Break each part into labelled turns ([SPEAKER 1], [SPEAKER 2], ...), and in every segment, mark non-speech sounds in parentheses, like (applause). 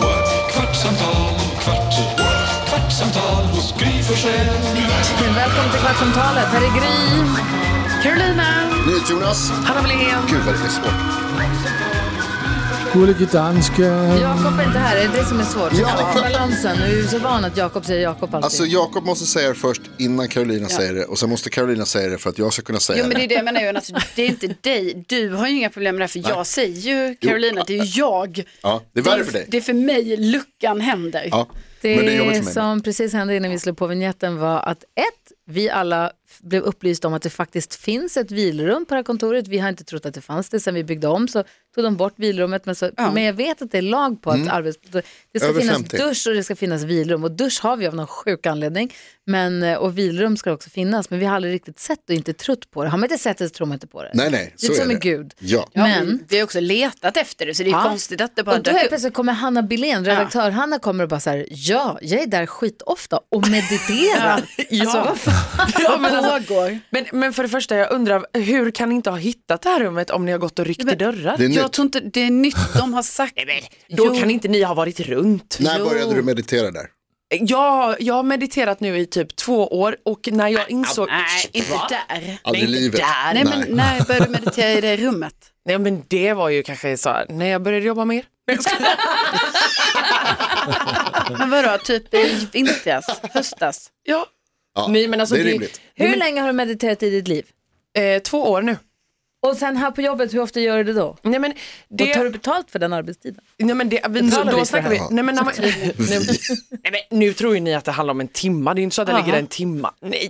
[SPEAKER 1] what? kvartsamtal, kvart, what? kvartsamtal hos Gry Forssell med vänner.
[SPEAKER 2] Välkommen till Kvartsamtalet. Här är Gry. Carolina.
[SPEAKER 3] Jonas.
[SPEAKER 2] Hanna Wilhelm.
[SPEAKER 3] Gud vad det är svårt.
[SPEAKER 4] Gullige danska.
[SPEAKER 2] Jakob är inte här. Det är det som är svårt.
[SPEAKER 3] Ja.
[SPEAKER 2] Balansen. Du är ju så van att Jakob säger Jakob alltid.
[SPEAKER 3] Alltså Jakob måste säga det först innan Carolina säger det och sen måste Carolina säga det för att jag ska kunna säga
[SPEAKER 5] Jo men det
[SPEAKER 3] det.
[SPEAKER 5] är det jag menar Jonas, det är inte dig, du har ju inga problem med det här för jag säger ju Carolina, det är ju jag.
[SPEAKER 3] Ja, det är värre för dig.
[SPEAKER 5] Det är för mig luckan händer.
[SPEAKER 3] Ja,
[SPEAKER 2] det
[SPEAKER 3] men det är jobbigt för mig.
[SPEAKER 2] som precis hände innan vi slog på vignetten var att ett, vi alla f- blev upplysta om att det faktiskt finns ett vilrum på det här kontoret. Vi har inte trott att det fanns det sen vi byggde om så tog de bort vilrummet. Men, så, men jag vet att det är lag på att arbets... det ska
[SPEAKER 3] Mm. Över
[SPEAKER 2] finnas
[SPEAKER 3] 50.
[SPEAKER 2] dusch och det ska finnas vilrum och dusch har vi av någon sjuk anledning. Men, eh, och vilrum ska också finnas men vi har aldrig riktigt sett och inte trott på det. Har man inte sett det så tror man inte på det.
[SPEAKER 3] Nej, nej,
[SPEAKER 2] det
[SPEAKER 3] så
[SPEAKER 2] är som
[SPEAKER 3] är
[SPEAKER 2] med
[SPEAKER 3] det.
[SPEAKER 2] Gud.
[SPEAKER 3] Ja.
[SPEAKER 5] Ja,
[SPEAKER 2] Men-
[SPEAKER 5] men vi har också letat efter det så det är
[SPEAKER 2] Ja.
[SPEAKER 5] konstigt att det bara
[SPEAKER 2] Och då helt
[SPEAKER 5] dök upp.
[SPEAKER 2] plötsligt kommer Hanna Billén, redaktör Hanna kommer och bara så här, ja, jag är där skitofta och
[SPEAKER 5] (laughs)
[SPEAKER 2] mediterar. Alltså vad fan
[SPEAKER 5] Ja, men alltså,
[SPEAKER 6] Men, men för det första, jag undrar, hur kan ni inte ha hittat det här rummet om ni har gått och ryckt i dörrar?
[SPEAKER 3] Det är
[SPEAKER 5] jag
[SPEAKER 3] nytt.
[SPEAKER 5] tror inte, det är nytt de har sagt.
[SPEAKER 6] Då kan inte ni ha varit runt.
[SPEAKER 3] När
[SPEAKER 5] Jo.
[SPEAKER 3] började du meditera där?
[SPEAKER 6] Jag, har- jag har mediterat nu i typ två år och när
[SPEAKER 2] Ah,
[SPEAKER 6] jag insåg...
[SPEAKER 5] Nej, inte där.
[SPEAKER 3] Aldrig i livet.
[SPEAKER 5] Nej, men när började du meditera i det rummet?
[SPEAKER 6] Nej men det var ju kanske så här, när jag började jobba mer.
[SPEAKER 5] Men vadå, typ i vintras, höstas?
[SPEAKER 6] Ja.
[SPEAKER 3] Ja,
[SPEAKER 6] Nej, men alltså
[SPEAKER 3] det är
[SPEAKER 6] det-
[SPEAKER 3] rimligt. (laughs)
[SPEAKER 2] Hur länge har du mediterat i ditt liv?
[SPEAKER 6] Eh, två år nu.
[SPEAKER 2] Och sen här på jobbet, hur ofta gör du det då?
[SPEAKER 6] Nej men det...
[SPEAKER 2] Och tar du betalt för den arbetstiden?
[SPEAKER 6] Nej men det, vi,
[SPEAKER 2] Betalar vi
[SPEAKER 6] då
[SPEAKER 2] för
[SPEAKER 6] snackar
[SPEAKER 2] det
[SPEAKER 6] vi.
[SPEAKER 2] här?
[SPEAKER 6] Nej, men, när man, nej, men, nu tror ju ni att det handlar om en timma, det är ju inte så att jag ligger där en timma. Nej,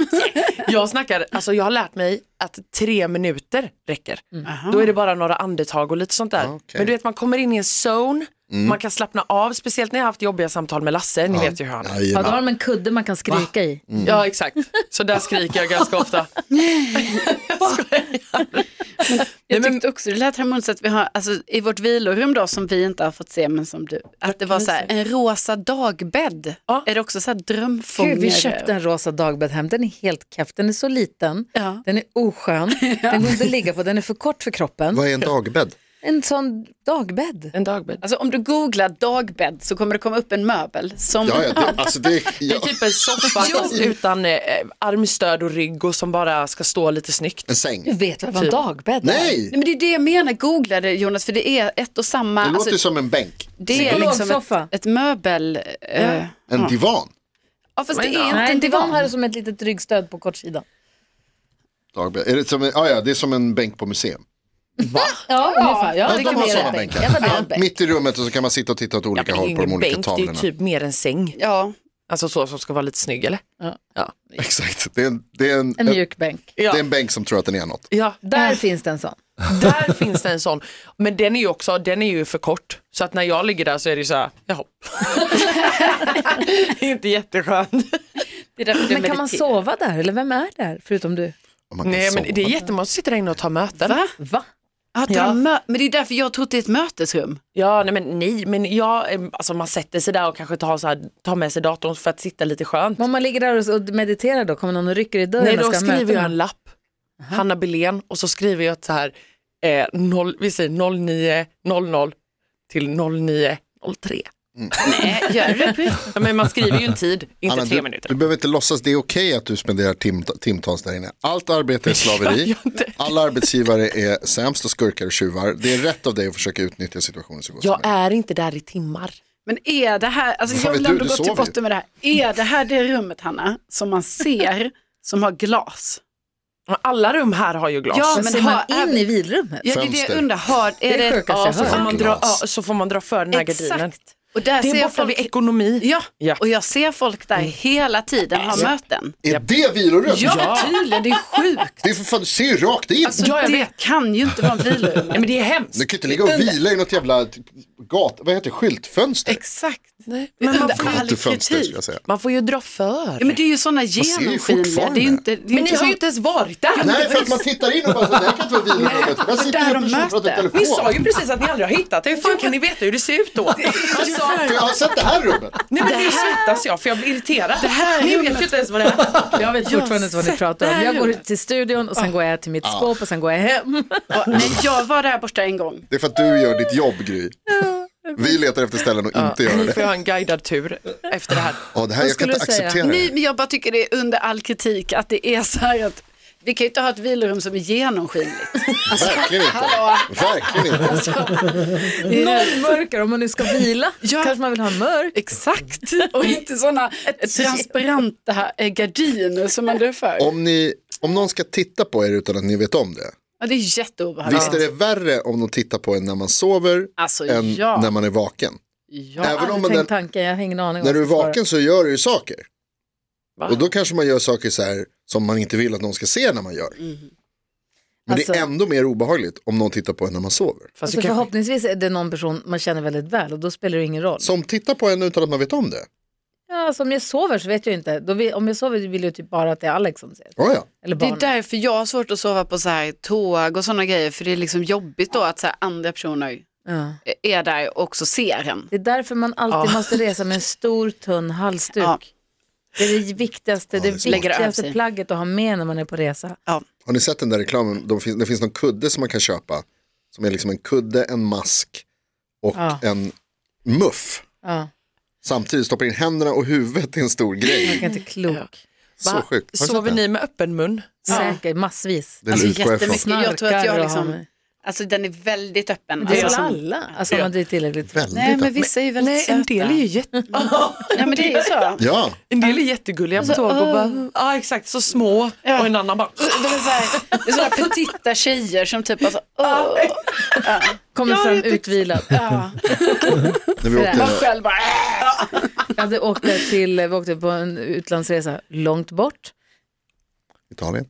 [SPEAKER 6] jag snackar, alltså jag har lärt mig att tre minuter räcker.
[SPEAKER 5] Mm.
[SPEAKER 6] Då är det bara några andetag och lite sånt där.
[SPEAKER 3] Okej.
[SPEAKER 6] Men du vet man kommer in i en zone,
[SPEAKER 5] Mm.
[SPEAKER 6] man kan slappna av, speciellt när jag har haft jobbiga samtal med Lasse, ni vet ju hur han är.
[SPEAKER 2] Ja,
[SPEAKER 3] Jajamän.
[SPEAKER 2] då har de en kudde man kan skrika i.
[SPEAKER 5] Mm.
[SPEAKER 6] Ja exakt, så där skriker jag
[SPEAKER 5] (laughs)
[SPEAKER 6] ganska ofta. Jag skojar.
[SPEAKER 5] Jag
[SPEAKER 6] men-
[SPEAKER 5] tyckte också det lät harmoniskt att vi har, alltså, i vårt vilorum då som vi inte har fått se men som du, att det var så här en rosa dagbädd.
[SPEAKER 6] Ja.
[SPEAKER 5] Är det också så här drömfångare?
[SPEAKER 2] Gud, vi köpte en rosa dagbädd hem, den är helt keff, den är så liten,
[SPEAKER 5] Ja.
[SPEAKER 2] den är
[SPEAKER 5] (laughs)
[SPEAKER 2] oskön, den går inte att ligga på, den är för kort för kroppen.
[SPEAKER 3] Vad är en dagbädd?
[SPEAKER 2] En sån dagbädd.
[SPEAKER 6] En dagbädd.
[SPEAKER 5] Alltså om du googlar dagbädd så kommer det komma upp en möbel som
[SPEAKER 3] Ja, ja, det, alltså
[SPEAKER 5] (laughs)
[SPEAKER 3] det,
[SPEAKER 6] Det
[SPEAKER 3] ja.
[SPEAKER 6] är typ en soffa fast utan eh, armstöd och rygg och som bara ska stå lite snyggt.
[SPEAKER 3] En säng.
[SPEAKER 2] Du vet väl vad en dagbädd är?
[SPEAKER 3] Nej,
[SPEAKER 5] Typ. Nej men det är det jag menar, googla det Jonas för det är ett och samma,
[SPEAKER 3] det låter
[SPEAKER 5] alltså,
[SPEAKER 3] ju som en bänk.
[SPEAKER 5] det är liksom
[SPEAKER 2] Psykologsoffa.
[SPEAKER 5] ett, ett möbel. eh, Ja.
[SPEAKER 3] En divan.
[SPEAKER 5] fast det är
[SPEAKER 6] ja.
[SPEAKER 5] inte
[SPEAKER 2] Nej,
[SPEAKER 5] en
[SPEAKER 2] det var
[SPEAKER 5] divan.
[SPEAKER 2] här som ett litet ryggstöd på kortsidan.
[SPEAKER 3] Dagbädd. Är det, som en, ja, ja, det är som en bänk på museum.
[SPEAKER 2] Ja, ungefär. Ja,
[SPEAKER 3] Ja,
[SPEAKER 2] det
[SPEAKER 3] de
[SPEAKER 2] kan
[SPEAKER 3] har
[SPEAKER 2] bli
[SPEAKER 3] sådana
[SPEAKER 2] rätt
[SPEAKER 3] bänkar.
[SPEAKER 2] bänk. Jag var där
[SPEAKER 3] Ja,
[SPEAKER 2] bänk.
[SPEAKER 3] mitt i rummet och så kan man sitta och titta åt olika håll på de olika
[SPEAKER 6] bänk, det är
[SPEAKER 3] tavlorna.
[SPEAKER 6] typ mer en säng.
[SPEAKER 5] Ja,
[SPEAKER 6] Alltså så som ska vara lite snygg eller?
[SPEAKER 3] (laughs) Exakt, det är en, det är en,
[SPEAKER 2] En mjuk bänk.
[SPEAKER 3] det är en bänk som tror att den är något.
[SPEAKER 6] Ja,
[SPEAKER 2] Där finns det en sån.
[SPEAKER 6] (laughs) där finns det en sån. Men den är ju också, den är ju för kort. Så att när jag ligger där så är det ju så här, jaha. (laughs) Det är inte jätteskönt.
[SPEAKER 5] det är därför du
[SPEAKER 2] Men kan man
[SPEAKER 5] mediterar.
[SPEAKER 2] sova där? Eller vem är där? Förutom du.
[SPEAKER 3] Och man kan
[SPEAKER 6] Nej
[SPEAKER 3] sova.
[SPEAKER 6] men det är jättemånga som sitter där inne och tar möten.
[SPEAKER 5] Va?
[SPEAKER 2] Va?
[SPEAKER 5] Ja, ta
[SPEAKER 6] Ja.
[SPEAKER 5] mö- men det är därför jag tror att det är ett mötesrum.
[SPEAKER 6] Ja nej men nej, men jag, eh, alltså man sätter sig där och kanske tar, så här, tar med sig datorn för att sitta lite skönt.
[SPEAKER 2] Men Om man ligger där och- och mediterar då, kommer någon och rycker i dörren
[SPEAKER 6] Nej,
[SPEAKER 2] och
[SPEAKER 6] då
[SPEAKER 2] ska ha
[SPEAKER 6] skriver
[SPEAKER 2] möte?
[SPEAKER 6] jag en lapp, Hanna Billén, och så skriver jag ett så här, eh, noll, vi säger 09.00 till 09.03.
[SPEAKER 3] Mm.
[SPEAKER 5] Nej, gör du det?
[SPEAKER 6] (laughs) Ja, men man skriver ju en tid, inte
[SPEAKER 3] Anna,
[SPEAKER 6] tre
[SPEAKER 3] du,
[SPEAKER 6] minuter.
[SPEAKER 3] du behöver inte låtsas, det är okej att du spenderar tim, timtals där inne. Allt
[SPEAKER 6] (laughs)
[SPEAKER 3] arbete är slaveri, alla arbetsgivare är sämst och skurkar och tjuvar. Det är rätt av dig att försöka utnyttja situationen så gott som
[SPEAKER 6] Jag
[SPEAKER 3] möjligt.
[SPEAKER 6] är inte där i timmar.
[SPEAKER 5] Men är det här, alltså
[SPEAKER 3] Fan
[SPEAKER 5] jag
[SPEAKER 3] vet
[SPEAKER 5] vill
[SPEAKER 3] du,
[SPEAKER 5] ändå
[SPEAKER 3] du
[SPEAKER 5] gå till
[SPEAKER 3] sover ju.
[SPEAKER 5] botten med det här. Är det här det rummet Hanna, som man ser, (laughs) som har glas?
[SPEAKER 6] Men Alla rum här har ju glas.
[SPEAKER 5] Ja,
[SPEAKER 2] Men
[SPEAKER 5] men
[SPEAKER 2] ser
[SPEAKER 5] ha-
[SPEAKER 2] man in i vidrummet?
[SPEAKER 5] Ja, det är det
[SPEAKER 3] Fönster.
[SPEAKER 5] jag undrar, har, är
[SPEAKER 2] Det är
[SPEAKER 5] det,
[SPEAKER 2] sjukaste jag
[SPEAKER 5] så
[SPEAKER 2] hört.
[SPEAKER 5] får man
[SPEAKER 6] dra,
[SPEAKER 3] glas.
[SPEAKER 6] ja, så får man dra för den här gardinen.
[SPEAKER 5] Exakt. Och där
[SPEAKER 6] Det
[SPEAKER 5] ser
[SPEAKER 6] är
[SPEAKER 5] jag
[SPEAKER 6] borta
[SPEAKER 5] folk...
[SPEAKER 6] vid ekonomi.
[SPEAKER 5] Ja.
[SPEAKER 6] Ja.
[SPEAKER 5] och jag ser folk där hela tiden ha möten.
[SPEAKER 3] Är det vilorum?
[SPEAKER 5] Ja, men tydligen, det är sjukt.
[SPEAKER 3] Det är för fan, du ser ju rakt in.
[SPEAKER 6] Ja, jag
[SPEAKER 5] det
[SPEAKER 6] vet.
[SPEAKER 5] kan ju inte vara en (laughs) vilorum.
[SPEAKER 6] Nej, men det är hemskt.
[SPEAKER 3] Du kan ju inte ligga och vila i något jävla gat, vad heter det, skyltfönster?
[SPEAKER 5] Exakt.
[SPEAKER 6] Nej.
[SPEAKER 5] Men man får aldrig
[SPEAKER 3] Gatufönster
[SPEAKER 5] kritik.
[SPEAKER 3] skulle jag säga.
[SPEAKER 6] Man får ju dra för.
[SPEAKER 5] Ja, men det är ju sådana
[SPEAKER 3] ser ju
[SPEAKER 5] genomskinliga.
[SPEAKER 3] fortfarande.
[SPEAKER 5] Det är ju inte, det är
[SPEAKER 6] Men ni har ju
[SPEAKER 5] sån-
[SPEAKER 6] inte ens varit där.
[SPEAKER 3] Nej, för att man tittar in och bara, så, det här kan inte vara vilorummet. Där sitter
[SPEAKER 5] där
[SPEAKER 3] ju
[SPEAKER 5] de
[SPEAKER 3] en person och pratar i
[SPEAKER 5] möter.
[SPEAKER 6] Ni
[SPEAKER 3] telefon.
[SPEAKER 6] sa ju precis att ni aldrig har hittat det. Hur fan kan ni veta hur (laughs) det ser ut då? Alltså,
[SPEAKER 3] För Jag har sett det här rummet.
[SPEAKER 6] nej men nu svettas jag för jag blir irriterad. Det
[SPEAKER 5] här
[SPEAKER 6] ni vet ju inte ens vad det är. (laughs)
[SPEAKER 2] Jag vet fortfarande inte vad ni pratar om.
[SPEAKER 5] där
[SPEAKER 2] Jag går
[SPEAKER 5] rummet.
[SPEAKER 2] till studion och sen går jag till mitt skåp och sen går jag hem.
[SPEAKER 5] Ja, nej, jag var där borta en gång.
[SPEAKER 3] Det är för att du gör ditt jobb, Gry. Vi letar efter ställen och inte gör
[SPEAKER 6] Ni får
[SPEAKER 3] det.
[SPEAKER 6] ju ha en guidad tur efter det här.
[SPEAKER 3] Ja, det här, jag kan
[SPEAKER 2] skulle
[SPEAKER 3] inte
[SPEAKER 2] du säga?
[SPEAKER 3] acceptera
[SPEAKER 5] Nej,
[SPEAKER 3] det.
[SPEAKER 5] men jag bara tycker det är under all kritik att det är så här att vi kan ju inte ha ett vilorum som är genomskinligt.
[SPEAKER 3] Verkligen inte. Verkligen inte.
[SPEAKER 2] Noll mörker om man nu ska vila.
[SPEAKER 5] Ja.
[SPEAKER 2] Kanske man vill ha mörk.
[SPEAKER 5] Exakt,
[SPEAKER 6] (laughs)
[SPEAKER 5] och inte sådana (laughs) transparenta eh, gardiner som man drar för.
[SPEAKER 3] Om, ni, om någon ska titta på er utan att ni vet om det,
[SPEAKER 5] Ja, det är jätteobehagligt.
[SPEAKER 3] visst är det värre om de tittar på en när man sover
[SPEAKER 5] Alltså,
[SPEAKER 3] än
[SPEAKER 5] ja.
[SPEAKER 3] när man är vaken?
[SPEAKER 5] Ja.
[SPEAKER 2] Jag
[SPEAKER 3] Även
[SPEAKER 2] har
[SPEAKER 3] om
[SPEAKER 2] aldrig
[SPEAKER 3] den,
[SPEAKER 2] tänkt tanken, jag har ingen aning. om
[SPEAKER 3] när du är
[SPEAKER 2] vad jag ska
[SPEAKER 3] vaken så gör du ju saker.
[SPEAKER 6] Va?
[SPEAKER 3] Och då kanske man gör saker så här som man inte vill att någon ska se när man gör. Men
[SPEAKER 2] Alltså-
[SPEAKER 3] det är ändå mer obehagligt om någon tittar på en när man sover.
[SPEAKER 6] Fast
[SPEAKER 2] Alltså
[SPEAKER 6] du kanske...
[SPEAKER 2] förhoppningsvis är det någon person man känner väldigt väl och då spelar det ingen roll.
[SPEAKER 3] Som tittar på en utan att man vet om det.
[SPEAKER 2] Ja, alltså, om jag sover så vet jag inte. Då vill, om jag sover vill jag typ bara att det är Alex som ser.
[SPEAKER 3] Ja, ja.
[SPEAKER 2] Eller
[SPEAKER 5] Det
[SPEAKER 2] barnen.
[SPEAKER 5] är därför jag har svårt att sova på så här tåg och sådana grejer, för det är liksom jobbigt då att så här andra personer eh,
[SPEAKER 2] ja.
[SPEAKER 5] är där och också ser en.
[SPEAKER 2] det är därför man alltid
[SPEAKER 6] Ja.
[SPEAKER 2] måste resa med en stor tunn halsduk.
[SPEAKER 5] Ja.
[SPEAKER 2] Det är det viktigaste, det,
[SPEAKER 3] det är smart.
[SPEAKER 5] Lägger av
[SPEAKER 2] viktigaste
[SPEAKER 5] sig.
[SPEAKER 2] plagget att ha med när man är på resa.
[SPEAKER 3] Har ni sett den där reklamen? De finns, det finns någon kudde som man kan köpa. Som är liksom en kudde, en mask och
[SPEAKER 2] Ja.
[SPEAKER 3] en muff.
[SPEAKER 2] Ja,
[SPEAKER 3] Samtidigt stoppar in händerna och huvudet i en stor
[SPEAKER 2] jag
[SPEAKER 3] grej.
[SPEAKER 2] är inte klok.
[SPEAKER 3] Så sjukt. Har du
[SPEAKER 6] Sover
[SPEAKER 3] sett det?
[SPEAKER 6] ni med öppen mun?
[SPEAKER 2] Säker, massvis.
[SPEAKER 3] Det
[SPEAKER 5] Alltså
[SPEAKER 3] utgår jag ifrån.
[SPEAKER 5] jättemycket. Jag tror att
[SPEAKER 2] Snarkar
[SPEAKER 5] jag
[SPEAKER 2] och
[SPEAKER 5] liksom-
[SPEAKER 2] har med-
[SPEAKER 5] Alltså den är väldigt öppen.
[SPEAKER 2] Det är väl
[SPEAKER 5] Alltså,
[SPEAKER 2] alla? Alltså om man är tillräckligt.
[SPEAKER 3] Väldigt
[SPEAKER 5] Nej, men
[SPEAKER 3] öppet.
[SPEAKER 5] vissa är ju väldigt
[SPEAKER 6] Nej,
[SPEAKER 5] söta.
[SPEAKER 6] en del är ju (laughs) jätte...
[SPEAKER 5] Ja, men det är ju så.
[SPEAKER 3] Ja,
[SPEAKER 6] En del är jättegulliga på tåg och bara, uh, ja exakt, så små. Och en annan bara,
[SPEAKER 5] Det är, så här, det är sådana petita tjejer som typ alltså, åh,
[SPEAKER 2] Kommer
[SPEAKER 5] Jag
[SPEAKER 2] fram
[SPEAKER 5] vet inte.
[SPEAKER 2] utvilad.
[SPEAKER 3] när vi
[SPEAKER 5] man
[SPEAKER 3] åkte,
[SPEAKER 5] själv bara, äh.
[SPEAKER 2] Jag hade åkt där till, vi åkte på en utlandsresa långt bort.
[SPEAKER 3] Italien.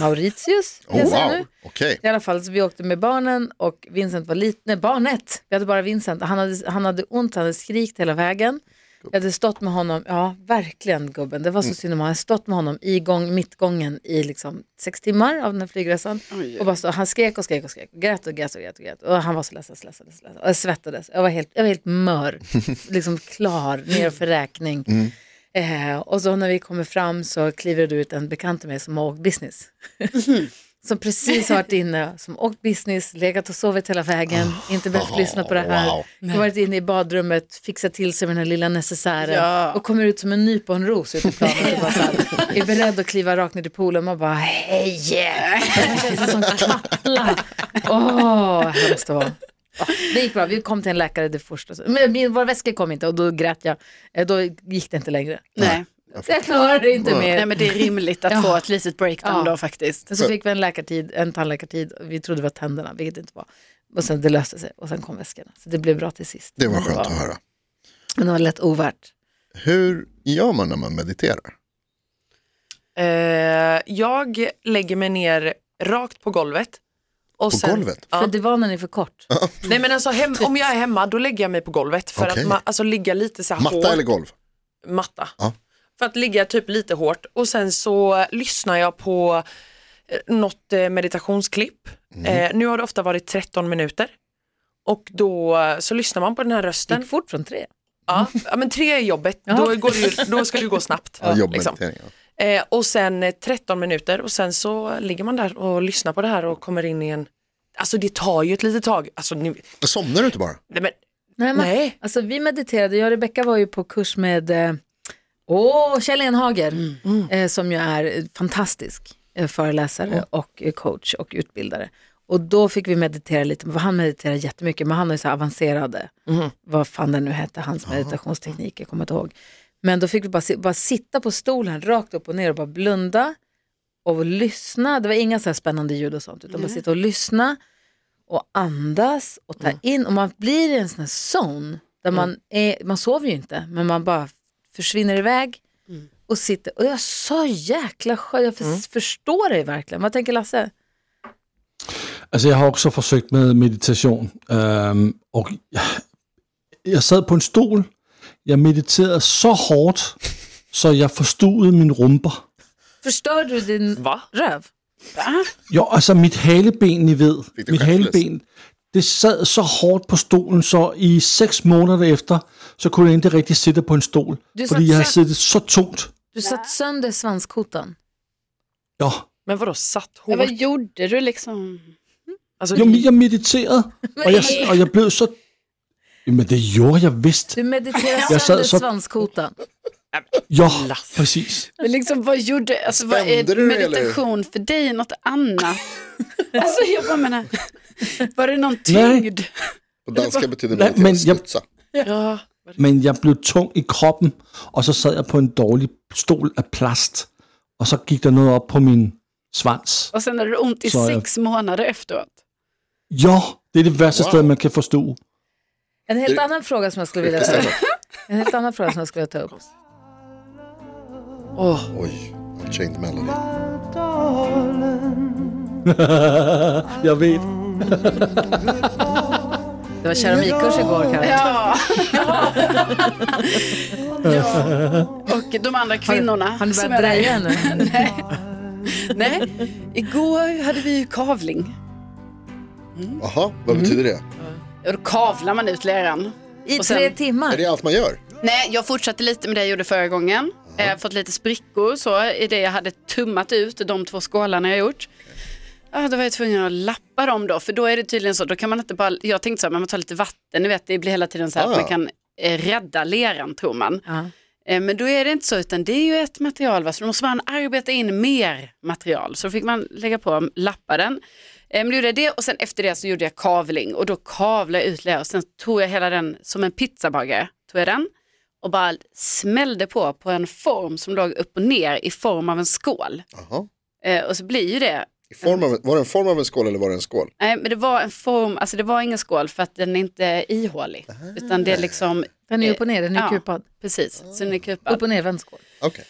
[SPEAKER 2] Mauritius.
[SPEAKER 3] Oh,
[SPEAKER 2] reser jag
[SPEAKER 3] wow,
[SPEAKER 2] nu.
[SPEAKER 3] okej.
[SPEAKER 2] I alla fall, så vi åkte med barnen och Vincent var liten, nej barnet, vi hade bara Vincent, han hade, han hade ont, han hade skrikt hela vägen. Jag hade stått med honom, ja verkligen gubben, det var så synd om honom, jag hade stått med honom i gång, mittgången i liksom sex timmar av den här flygresan. Och bara så, han skrek och skrek och skrek, och grät och grät och grät och grät. Och han var så ledsen, så ledsen, så ledsen. Och jag svettades, jag var helt, jag var helt mör, liksom klar, ner för räkning. Eh, och så när vi kommer fram så kliver du ut en bekant till mig som har åkt business som precis har varit inne, som åkt business, legat och sovit hela vägen, inte behövt lyssna på det här.
[SPEAKER 3] wow.
[SPEAKER 2] Har varit inne i badrummet, fixat till sig med den här lilla necessären
[SPEAKER 5] Ja.
[SPEAKER 2] och kommer ut som en nyponros ute på planet och bara så här, är beredd att kliva rakt ner i poolen. Man bara hej! Man känner sig som kattla. Åh, vad hemskt det var. Ja, Det gick bra, vi kom till en läkare det första. Men min, vår väska kom inte och då grät jag. Eh, Då gick det inte längre.
[SPEAKER 5] Nej.
[SPEAKER 2] Jag klarar det inte mer.
[SPEAKER 5] Nej men det är rimligt att
[SPEAKER 2] Ja.
[SPEAKER 5] få ett litet breakdown
[SPEAKER 2] Ja.
[SPEAKER 5] då faktiskt.
[SPEAKER 2] Sen så fick vi en läkartid, en tandläkartid, vi trodde det var tänderna, vilket det inte var. Och sen det löste sig och sen kom väskorna. Så det blev bra till sist.
[SPEAKER 3] Det var
[SPEAKER 2] Men
[SPEAKER 3] skönt att höra.
[SPEAKER 2] Men det var lätt ovärt.
[SPEAKER 3] Hur gör man när man mediterar?
[SPEAKER 6] eh, jag lägger mig ner rakt på golvet. Och
[SPEAKER 3] På golvet?
[SPEAKER 6] Ja.
[SPEAKER 2] För divanen är för kort.
[SPEAKER 6] Nej men alltså hem, om jag är hemma då lägger jag mig på golvet för
[SPEAKER 3] Okej.
[SPEAKER 6] att man, alltså ligga lite så här hårt.
[SPEAKER 3] Matta eller golv?
[SPEAKER 6] Matta.
[SPEAKER 3] Ja.
[SPEAKER 6] För att ligga typ lite hårt och sen så lyssnar jag på eh, något eh, meditationsklipp.
[SPEAKER 3] Mm.
[SPEAKER 6] Eh, nu har det ofta varit 13 minuter. Och då eh, så lyssnar man på den här
[SPEAKER 2] Det
[SPEAKER 6] rösten.
[SPEAKER 2] gick fort från tre.
[SPEAKER 6] Ja,
[SPEAKER 4] Mm.
[SPEAKER 6] ja men tre är jobbet,
[SPEAKER 2] Ja.
[SPEAKER 6] då, går det ju, då ska det ju gå snabbt.
[SPEAKER 3] Ja,
[SPEAKER 6] liksom.
[SPEAKER 3] jobbmeditering. ja.
[SPEAKER 6] eh, och sen eh, 13 minuter och sen så ligger man där och lyssnar på det här och kommer in i en, alltså det tar ju ett litet tag. Alltså, ni,
[SPEAKER 3] Somnar du inte bara?
[SPEAKER 6] nej, men,
[SPEAKER 2] Nej, men,
[SPEAKER 6] Nej.
[SPEAKER 2] Alltså, vi mediterade, jag och Rebecka var ju på kurs med eh, åh, Kjell Enhager Eh, som ju är eh, fantastisk eh, föreläsare och eh, coach och utbildare. Och då fick vi meditera lite, för han mediterar jättemycket, men han har ju så här avancerade, vad fan det nu hette, hans meditationsteknik, jag kommer inte ihåg. Men då fick vi bara, si- bara sitta på stolen rakt upp och ner och bara blunda och lyssna. Det var inga så här spännande ljud och sånt, utan bara sitta och lyssna och andas och ta in. Och man blir i en sån här zon Där man, är, man sover ju inte, men man bara försvinner iväg och sitter. Och jag är så jäkla skön, jag för, förstår dig verkligen. Vad tänker Lasse?
[SPEAKER 4] Altså, jeg Alltså, har også forsøgt med meditation, ehm, øhm, og jeg, jeg sad på en stol. Jeg mediterede så hårdt, så jeg forstuede min rumper.
[SPEAKER 2] Förstör du din
[SPEAKER 6] Va?
[SPEAKER 2] röv?
[SPEAKER 4] Jo, altså mit haleben, I ved.
[SPEAKER 3] Fik det
[SPEAKER 4] Mit
[SPEAKER 3] kræftblæs.
[SPEAKER 4] haleben, det sad så hårdt på stolen, så i seks måneder efter, så kunne jeg ikke rigtig sidde på en stol.
[SPEAKER 2] Du sad
[SPEAKER 4] fordi jeg har
[SPEAKER 2] selv-
[SPEAKER 4] siddet så tungt.
[SPEAKER 2] Du satt sönder svanskotan.
[SPEAKER 4] Jo,
[SPEAKER 6] Men vadå satt
[SPEAKER 5] Ja,
[SPEAKER 6] hårt?
[SPEAKER 5] vad gjorde du liksom?
[SPEAKER 6] Alltså,
[SPEAKER 4] jo men jeg mediterede, og jeg, og jeg blev så... Jamen, det gjorde jeg vist.
[SPEAKER 2] Du mediterar
[SPEAKER 4] Jag
[SPEAKER 2] sönder
[SPEAKER 4] sa- sa-
[SPEAKER 2] svanskotan.
[SPEAKER 4] Jo, præcis.
[SPEAKER 5] Men liksom vad gjorde, alltså vad är
[SPEAKER 3] Spände du dig, eller?
[SPEAKER 5] meditation för dig, något annat? (laughs) alltså jag bara menar, var det någon
[SPEAKER 4] Nej.
[SPEAKER 5] tyngd?
[SPEAKER 3] På danska betyder
[SPEAKER 4] Nej,
[SPEAKER 3] det
[SPEAKER 4] men
[SPEAKER 3] att
[SPEAKER 4] jag-
[SPEAKER 3] studsa.
[SPEAKER 6] ja.
[SPEAKER 4] Men jeg blev tung i kroppen, og så sad jeg på en dårlig stol af plast, og så gik der noget op på min svans.
[SPEAKER 5] Och sen hade du ont i
[SPEAKER 4] Så, ja.
[SPEAKER 5] sex månader efteråt.
[SPEAKER 4] Jo, det er det værste
[SPEAKER 3] Wow.
[SPEAKER 4] wow. sted, man kan forstå.
[SPEAKER 2] En helt
[SPEAKER 3] Det-
[SPEAKER 2] annan fråga som jag skulle vilja ta upp. En helt annan fråga som jag skulle vilja ta upp.
[SPEAKER 6] Åh,
[SPEAKER 3] Oj, Chained Melody.
[SPEAKER 4] jeg ved.
[SPEAKER 2] Det var keramikkurs igår Karin.
[SPEAKER 5] Ja. (laughs) ja. Och de andra kvinnorna.
[SPEAKER 2] Har ni
[SPEAKER 5] som
[SPEAKER 2] börjat
[SPEAKER 5] är
[SPEAKER 2] dreja
[SPEAKER 5] där.
[SPEAKER 2] nu?
[SPEAKER 5] Nej, igår hade vi ju kavling.
[SPEAKER 3] Jaha, vad betyder det?
[SPEAKER 5] Ja, Då kavlar man ut leran.
[SPEAKER 2] I
[SPEAKER 5] Och sen-
[SPEAKER 2] tre
[SPEAKER 3] Är
[SPEAKER 2] timmar?
[SPEAKER 3] det allt man gör?
[SPEAKER 5] Nej, jag fortsatte lite med det jag gjorde förra gången. Jag har fått lite sprickor så i det jag hade tummat ut, de två skålarna jag gjort. Ja, då var jag tvungen att lappa dem då, för då är det tydligen så, då kan man inte bara, jag tänkte så här, men man tar lite vatten, ni vet det blir hela tiden så här
[SPEAKER 3] Ah.
[SPEAKER 5] att man kan eh, rädda leran tror man.
[SPEAKER 2] Ja.
[SPEAKER 5] Eh, Men då är det inte så, utan det är ju ett material, va? så då måste man arbeta in mer material. Så då fick man lägga på lappa den. Eh, Men då gjorde jag det och sen efter det så gjorde jag kavling och då kavlade jag ut lera och sen tog jag hela den som en pizzabagare, tog jag den och bara smällde på på en form som låg upp och ner i form av en skål.
[SPEAKER 3] Jaha.
[SPEAKER 5] Eh, Och så blir ju det,
[SPEAKER 3] I form av, var det en form av en skål eller var det en skål?
[SPEAKER 5] nej men det var en form, alltså det var ingen skål för att den är inte ihålig, utan det är liksom,
[SPEAKER 2] Ah. Den är upp och ner, den är
[SPEAKER 5] Ja.
[SPEAKER 2] kupad.
[SPEAKER 5] precis, så den är kupad.
[SPEAKER 2] Upp och ner vänd skål.
[SPEAKER 3] Okej.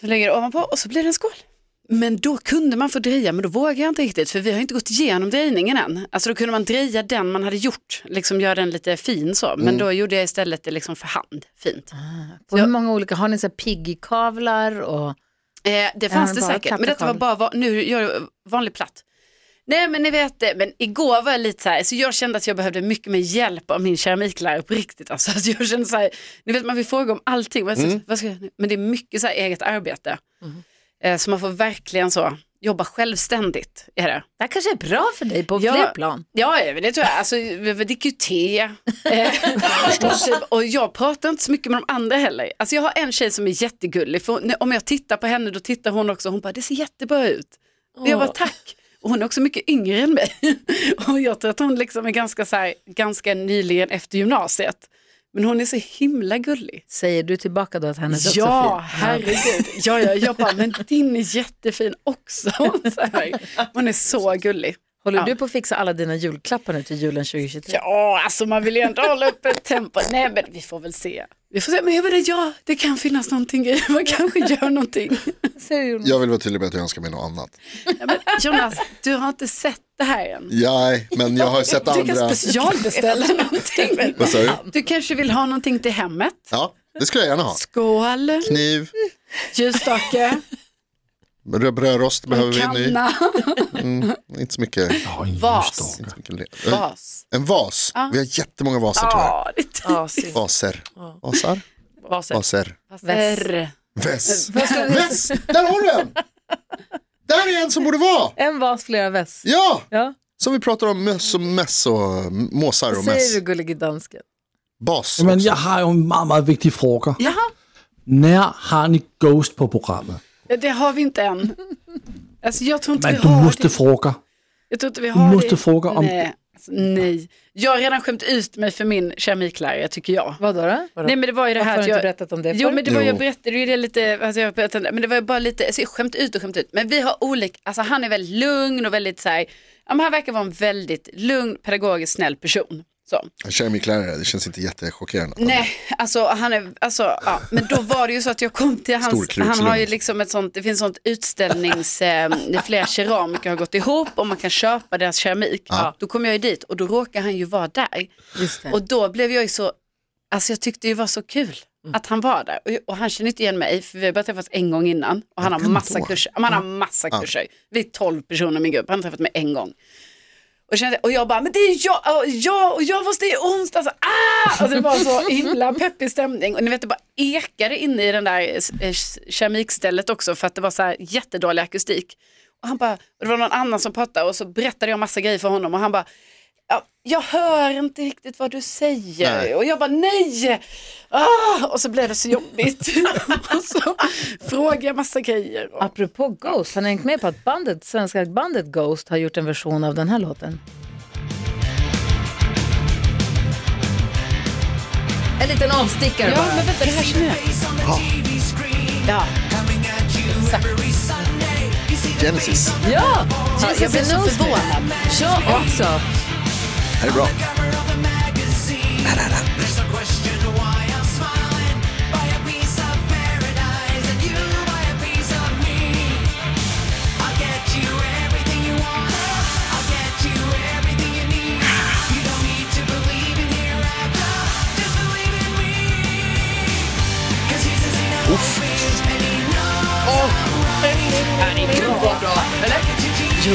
[SPEAKER 5] Så lägger jag ovanpå och så blir det en skål. Men då kunde man få dreja, men då vågar jag inte riktigt för vi har inte gått igenom drejningen än. Alltså då kunde man dreja den man hade gjort, liksom göra den lite fin så. Men
[SPEAKER 2] Mm.
[SPEAKER 5] då gjorde jag istället det liksom för hand, fint.
[SPEAKER 2] Och hur många olika, har ni så här piggykavlar och
[SPEAKER 5] Eh, det fanns
[SPEAKER 2] men
[SPEAKER 5] det
[SPEAKER 2] bara
[SPEAKER 5] säkert, men detta var
[SPEAKER 2] plattekabel.
[SPEAKER 5] bara, va- nu gör jag vanlig platt. Nej men ni vet det, men igår var jag lite så här, så jag kände att jag behövde mycket mer hjälp av min keramiklärare på riktigt. Alltså, (laughs) alltså jag kände så här, ni vet man vill fråga om allting, men, så, vad ska jag, men det är mycket så här eget arbete. Eh, så man får verkligen så, jobba självständigt är det.
[SPEAKER 2] Det här kanske är bra för dig på
[SPEAKER 5] Ja.
[SPEAKER 2] fler plan.
[SPEAKER 5] Ja, ja, men det tror jag. Alltså, vi vi dricker
[SPEAKER 2] (laughs)
[SPEAKER 5] ju te. Eh, och typ- och jag pratar inte så mycket med de andra heller. Alltså, jag har en tjej som är jättegullig. För hon- om jag tittar på henne då tittar hon också. Hon bara, det ser jättebra ut. Och jag bara, tack. Och hon är också mycket yngre än mig. (laughs) och jag tror att hon liksom är ganska, så här, ganska nyligen efter gymnasiet. Men hon är så himla gullig.
[SPEAKER 2] Säger du tillbaka då att hennes också är
[SPEAKER 5] Ja,
[SPEAKER 2] fin?
[SPEAKER 5] herregud. Ja, ja, jag bara, men din är jättefin också. (laughs) Så här. Hon är så gullig.
[SPEAKER 2] Håller
[SPEAKER 5] Ja.
[SPEAKER 2] du på att fixa alla dina julklappar nu till julen 2023?
[SPEAKER 5] Ja, alltså man vill ju ändå hålla uppe tempot. Nej, men vi får väl se. Vi får se, men jag menar, ja, det kan finnas någonting (laughs) i, man kanske gör någonting.
[SPEAKER 2] Säger Jonas.
[SPEAKER 3] Jag vill vara tydlig med att jag önskar mig något annat.
[SPEAKER 5] Ja, men Jonas, du har inte sett det här än.
[SPEAKER 3] Nej, men jag har sett
[SPEAKER 5] Du kan
[SPEAKER 3] andra.
[SPEAKER 5] specialbeställa någonting.
[SPEAKER 3] Vad sa du?
[SPEAKER 5] Du kanske vill ha någonting till hemmet?
[SPEAKER 3] Ja, det skulle jag gärna ha.
[SPEAKER 5] Skål,
[SPEAKER 3] Kniv,
[SPEAKER 5] ljusstake,
[SPEAKER 3] brö- brödrost behöver vi en ny.
[SPEAKER 5] kanna,
[SPEAKER 3] Inte så mycket.
[SPEAKER 4] Åh, en
[SPEAKER 5] Vas.
[SPEAKER 4] ljusstake.
[SPEAKER 3] Inte så mycket le- Eh,
[SPEAKER 5] vas.
[SPEAKER 3] En vas. Vi har jättemånga vaser tyvärr.
[SPEAKER 5] Ja, det är
[SPEAKER 6] ja, synd.
[SPEAKER 3] Vaser.
[SPEAKER 2] (laughs)
[SPEAKER 3] Vasar?
[SPEAKER 6] Vad säger-
[SPEAKER 3] Vaser.
[SPEAKER 5] tyvärr.
[SPEAKER 3] Väs. Väs! Där har du en! Där är en som borde vara!
[SPEAKER 2] En vas, flera väss.
[SPEAKER 3] Ja!
[SPEAKER 2] Ja.
[SPEAKER 3] Som vi pratar om möss och mäss och måsar och
[SPEAKER 2] Säger
[SPEAKER 3] mäss.
[SPEAKER 2] du gullige dansken?
[SPEAKER 3] Bas.
[SPEAKER 4] Jamen,
[SPEAKER 3] också.
[SPEAKER 4] jeg har jo en meget, meget vigtig frokker. Nær har ni Ghost på programmet?
[SPEAKER 5] Det har vi inte än. Alltså, jag tror inte
[SPEAKER 4] Men
[SPEAKER 5] vi
[SPEAKER 4] du
[SPEAKER 5] har
[SPEAKER 4] måste
[SPEAKER 5] det.
[SPEAKER 4] frokker.
[SPEAKER 5] Jag tror inte vi
[SPEAKER 4] Du
[SPEAKER 5] har
[SPEAKER 4] måste
[SPEAKER 5] det.
[SPEAKER 4] frokker om...
[SPEAKER 5] Nej, alltså, nej. Jag har redan skämt ut mig för min keramiklärare tycker jag.
[SPEAKER 2] Vadå då?
[SPEAKER 5] Nej men det var ju det
[SPEAKER 2] Varför har
[SPEAKER 5] här
[SPEAKER 2] du
[SPEAKER 5] att
[SPEAKER 2] inte
[SPEAKER 5] jag...
[SPEAKER 2] berättat om det
[SPEAKER 5] Jo
[SPEAKER 2] förut?
[SPEAKER 5] men det var,
[SPEAKER 3] Jo.
[SPEAKER 5] jag berättade ju det lite, alltså jag berättade, men det var ju bara lite, alltså jag skämt ut och skämt ut. Men vi har olika, alltså han är väldigt lugn och väldigt så här, ja men han verkar vara en väldigt lugn, pedagogiskt snäll person. Så.
[SPEAKER 3] En kemiklärare, det känns inte jättechockerande.
[SPEAKER 5] Nej, alltså han är, alltså, ja. men då var det ju så att jag kom till
[SPEAKER 3] Stor
[SPEAKER 5] hans,
[SPEAKER 3] krukslugn.
[SPEAKER 5] han har ju liksom ett sånt, det finns sånt utställnings, eh, där flera keramiker har gått ihop och man kan köpa deras keramik. Då kom jag ju dit och då råkar han ju vara där.
[SPEAKER 2] Just det.
[SPEAKER 5] Och då blev jag ju så, alltså jag tyckte det var så kul
[SPEAKER 2] Mm.
[SPEAKER 5] att han var där. Och, och han kände inte igen mig, för vi har bara träffats en gång innan. Och han har massa kurser, han har massa kurser. Vi är 12 personer i min grupp, han har träffat mig en gång. Och, kände, och jag bara, men det är jag, och jag, och jag måste i onsdag. Så, ah! alltså, det var så himla peppig stämning. Och ni vet, det bara ekade inne i den där eh, keramikstället också för att det var så här jättedålig akustik. Och han bara, och det var någon annan som pratade och så berättade jag massa grejer för honom och han bara, ja, jag hör inte riktigt vad du säger.
[SPEAKER 3] Nej.
[SPEAKER 5] Och jag bara, nej! Ah! Och så blev det så jobbigt. (laughs) och så frågade jag massa grejer. Och,
[SPEAKER 2] Apropå Ghost, har ni hängt med på att bandet, svenska bandet Ghost har gjort en version av den här låten? En liten avstickare
[SPEAKER 5] ja,
[SPEAKER 2] bara.
[SPEAKER 5] men vänta, det här känner jag. Ja.
[SPEAKER 3] Genesis,
[SPEAKER 2] Ja! Jesus
[SPEAKER 5] jag blev
[SPEAKER 2] is
[SPEAKER 5] så
[SPEAKER 2] Nosebleed.
[SPEAKER 5] förvånad.
[SPEAKER 2] Jag också.
[SPEAKER 3] det här är bra.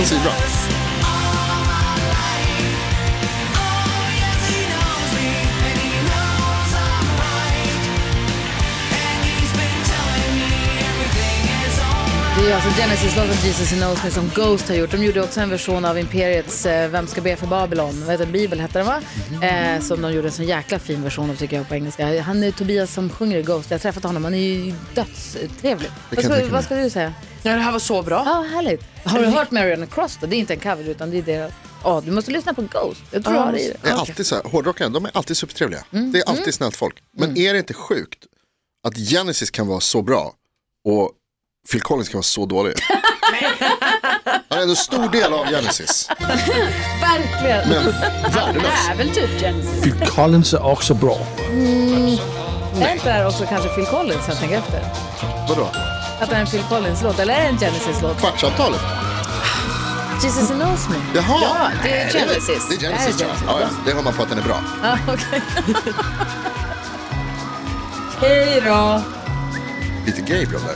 [SPEAKER 3] Svinbra.
[SPEAKER 2] Det är alltså Genesis-låten Jesus Knows Me som Ghost har gjort. De gjorde också en version av Imperiets eh, Vem ska be för Babylon? Vad heter den? Bibel hette den va?
[SPEAKER 3] Mhm.
[SPEAKER 2] Eh, som de gjorde en sån jäkla fin version av tycker jag på engelska. Han är Tobias som sjunger i Ghost. Jag har träffat honom. Han är ju dödstrevlig. Vad
[SPEAKER 3] jag
[SPEAKER 2] ska,
[SPEAKER 3] tänka
[SPEAKER 2] vad ska du säga?
[SPEAKER 6] Ja, det här var så bra.
[SPEAKER 2] Ja, härligt. Har du hört Marion Cross då? Det är inte en cover utan det är deras. Ja, du måste lyssna på Ghost. Jag tror du har det i det.
[SPEAKER 3] Det är alltid så här, hårdrockare, de är alltid supertrevliga.
[SPEAKER 2] Mm.
[SPEAKER 3] Det är alltid snällt folk. Men är det inte sjukt att Genesis kan vara så bra och Phil Collins kan vara
[SPEAKER 2] (laughs)
[SPEAKER 3] så dålig? Han är ändå en stor del av Genesis.
[SPEAKER 2] Verkligen.
[SPEAKER 3] Men värdelös.
[SPEAKER 5] Det är väl typ Genesis.
[SPEAKER 4] Phil Collins är också bra.
[SPEAKER 2] Är inte det här också kanske Phil Collins jag tänker efter?
[SPEAKER 3] Vadå?
[SPEAKER 2] Att det är en Phil Collins-låt eller är det en Genesis-låt?
[SPEAKER 3] Kvartsavtalet?
[SPEAKER 2] Jesus Knows Me.
[SPEAKER 3] Jaha.
[SPEAKER 2] Ja, det är
[SPEAKER 3] Nej, väl-
[SPEAKER 2] Genesis.
[SPEAKER 3] Det
[SPEAKER 2] Det
[SPEAKER 3] är Genesis, det
[SPEAKER 2] är Genesis.
[SPEAKER 3] Ja, ja. Det hör man på att den är bra.
[SPEAKER 2] Ja, okej. Hej då.
[SPEAKER 3] Lite Gabriel där.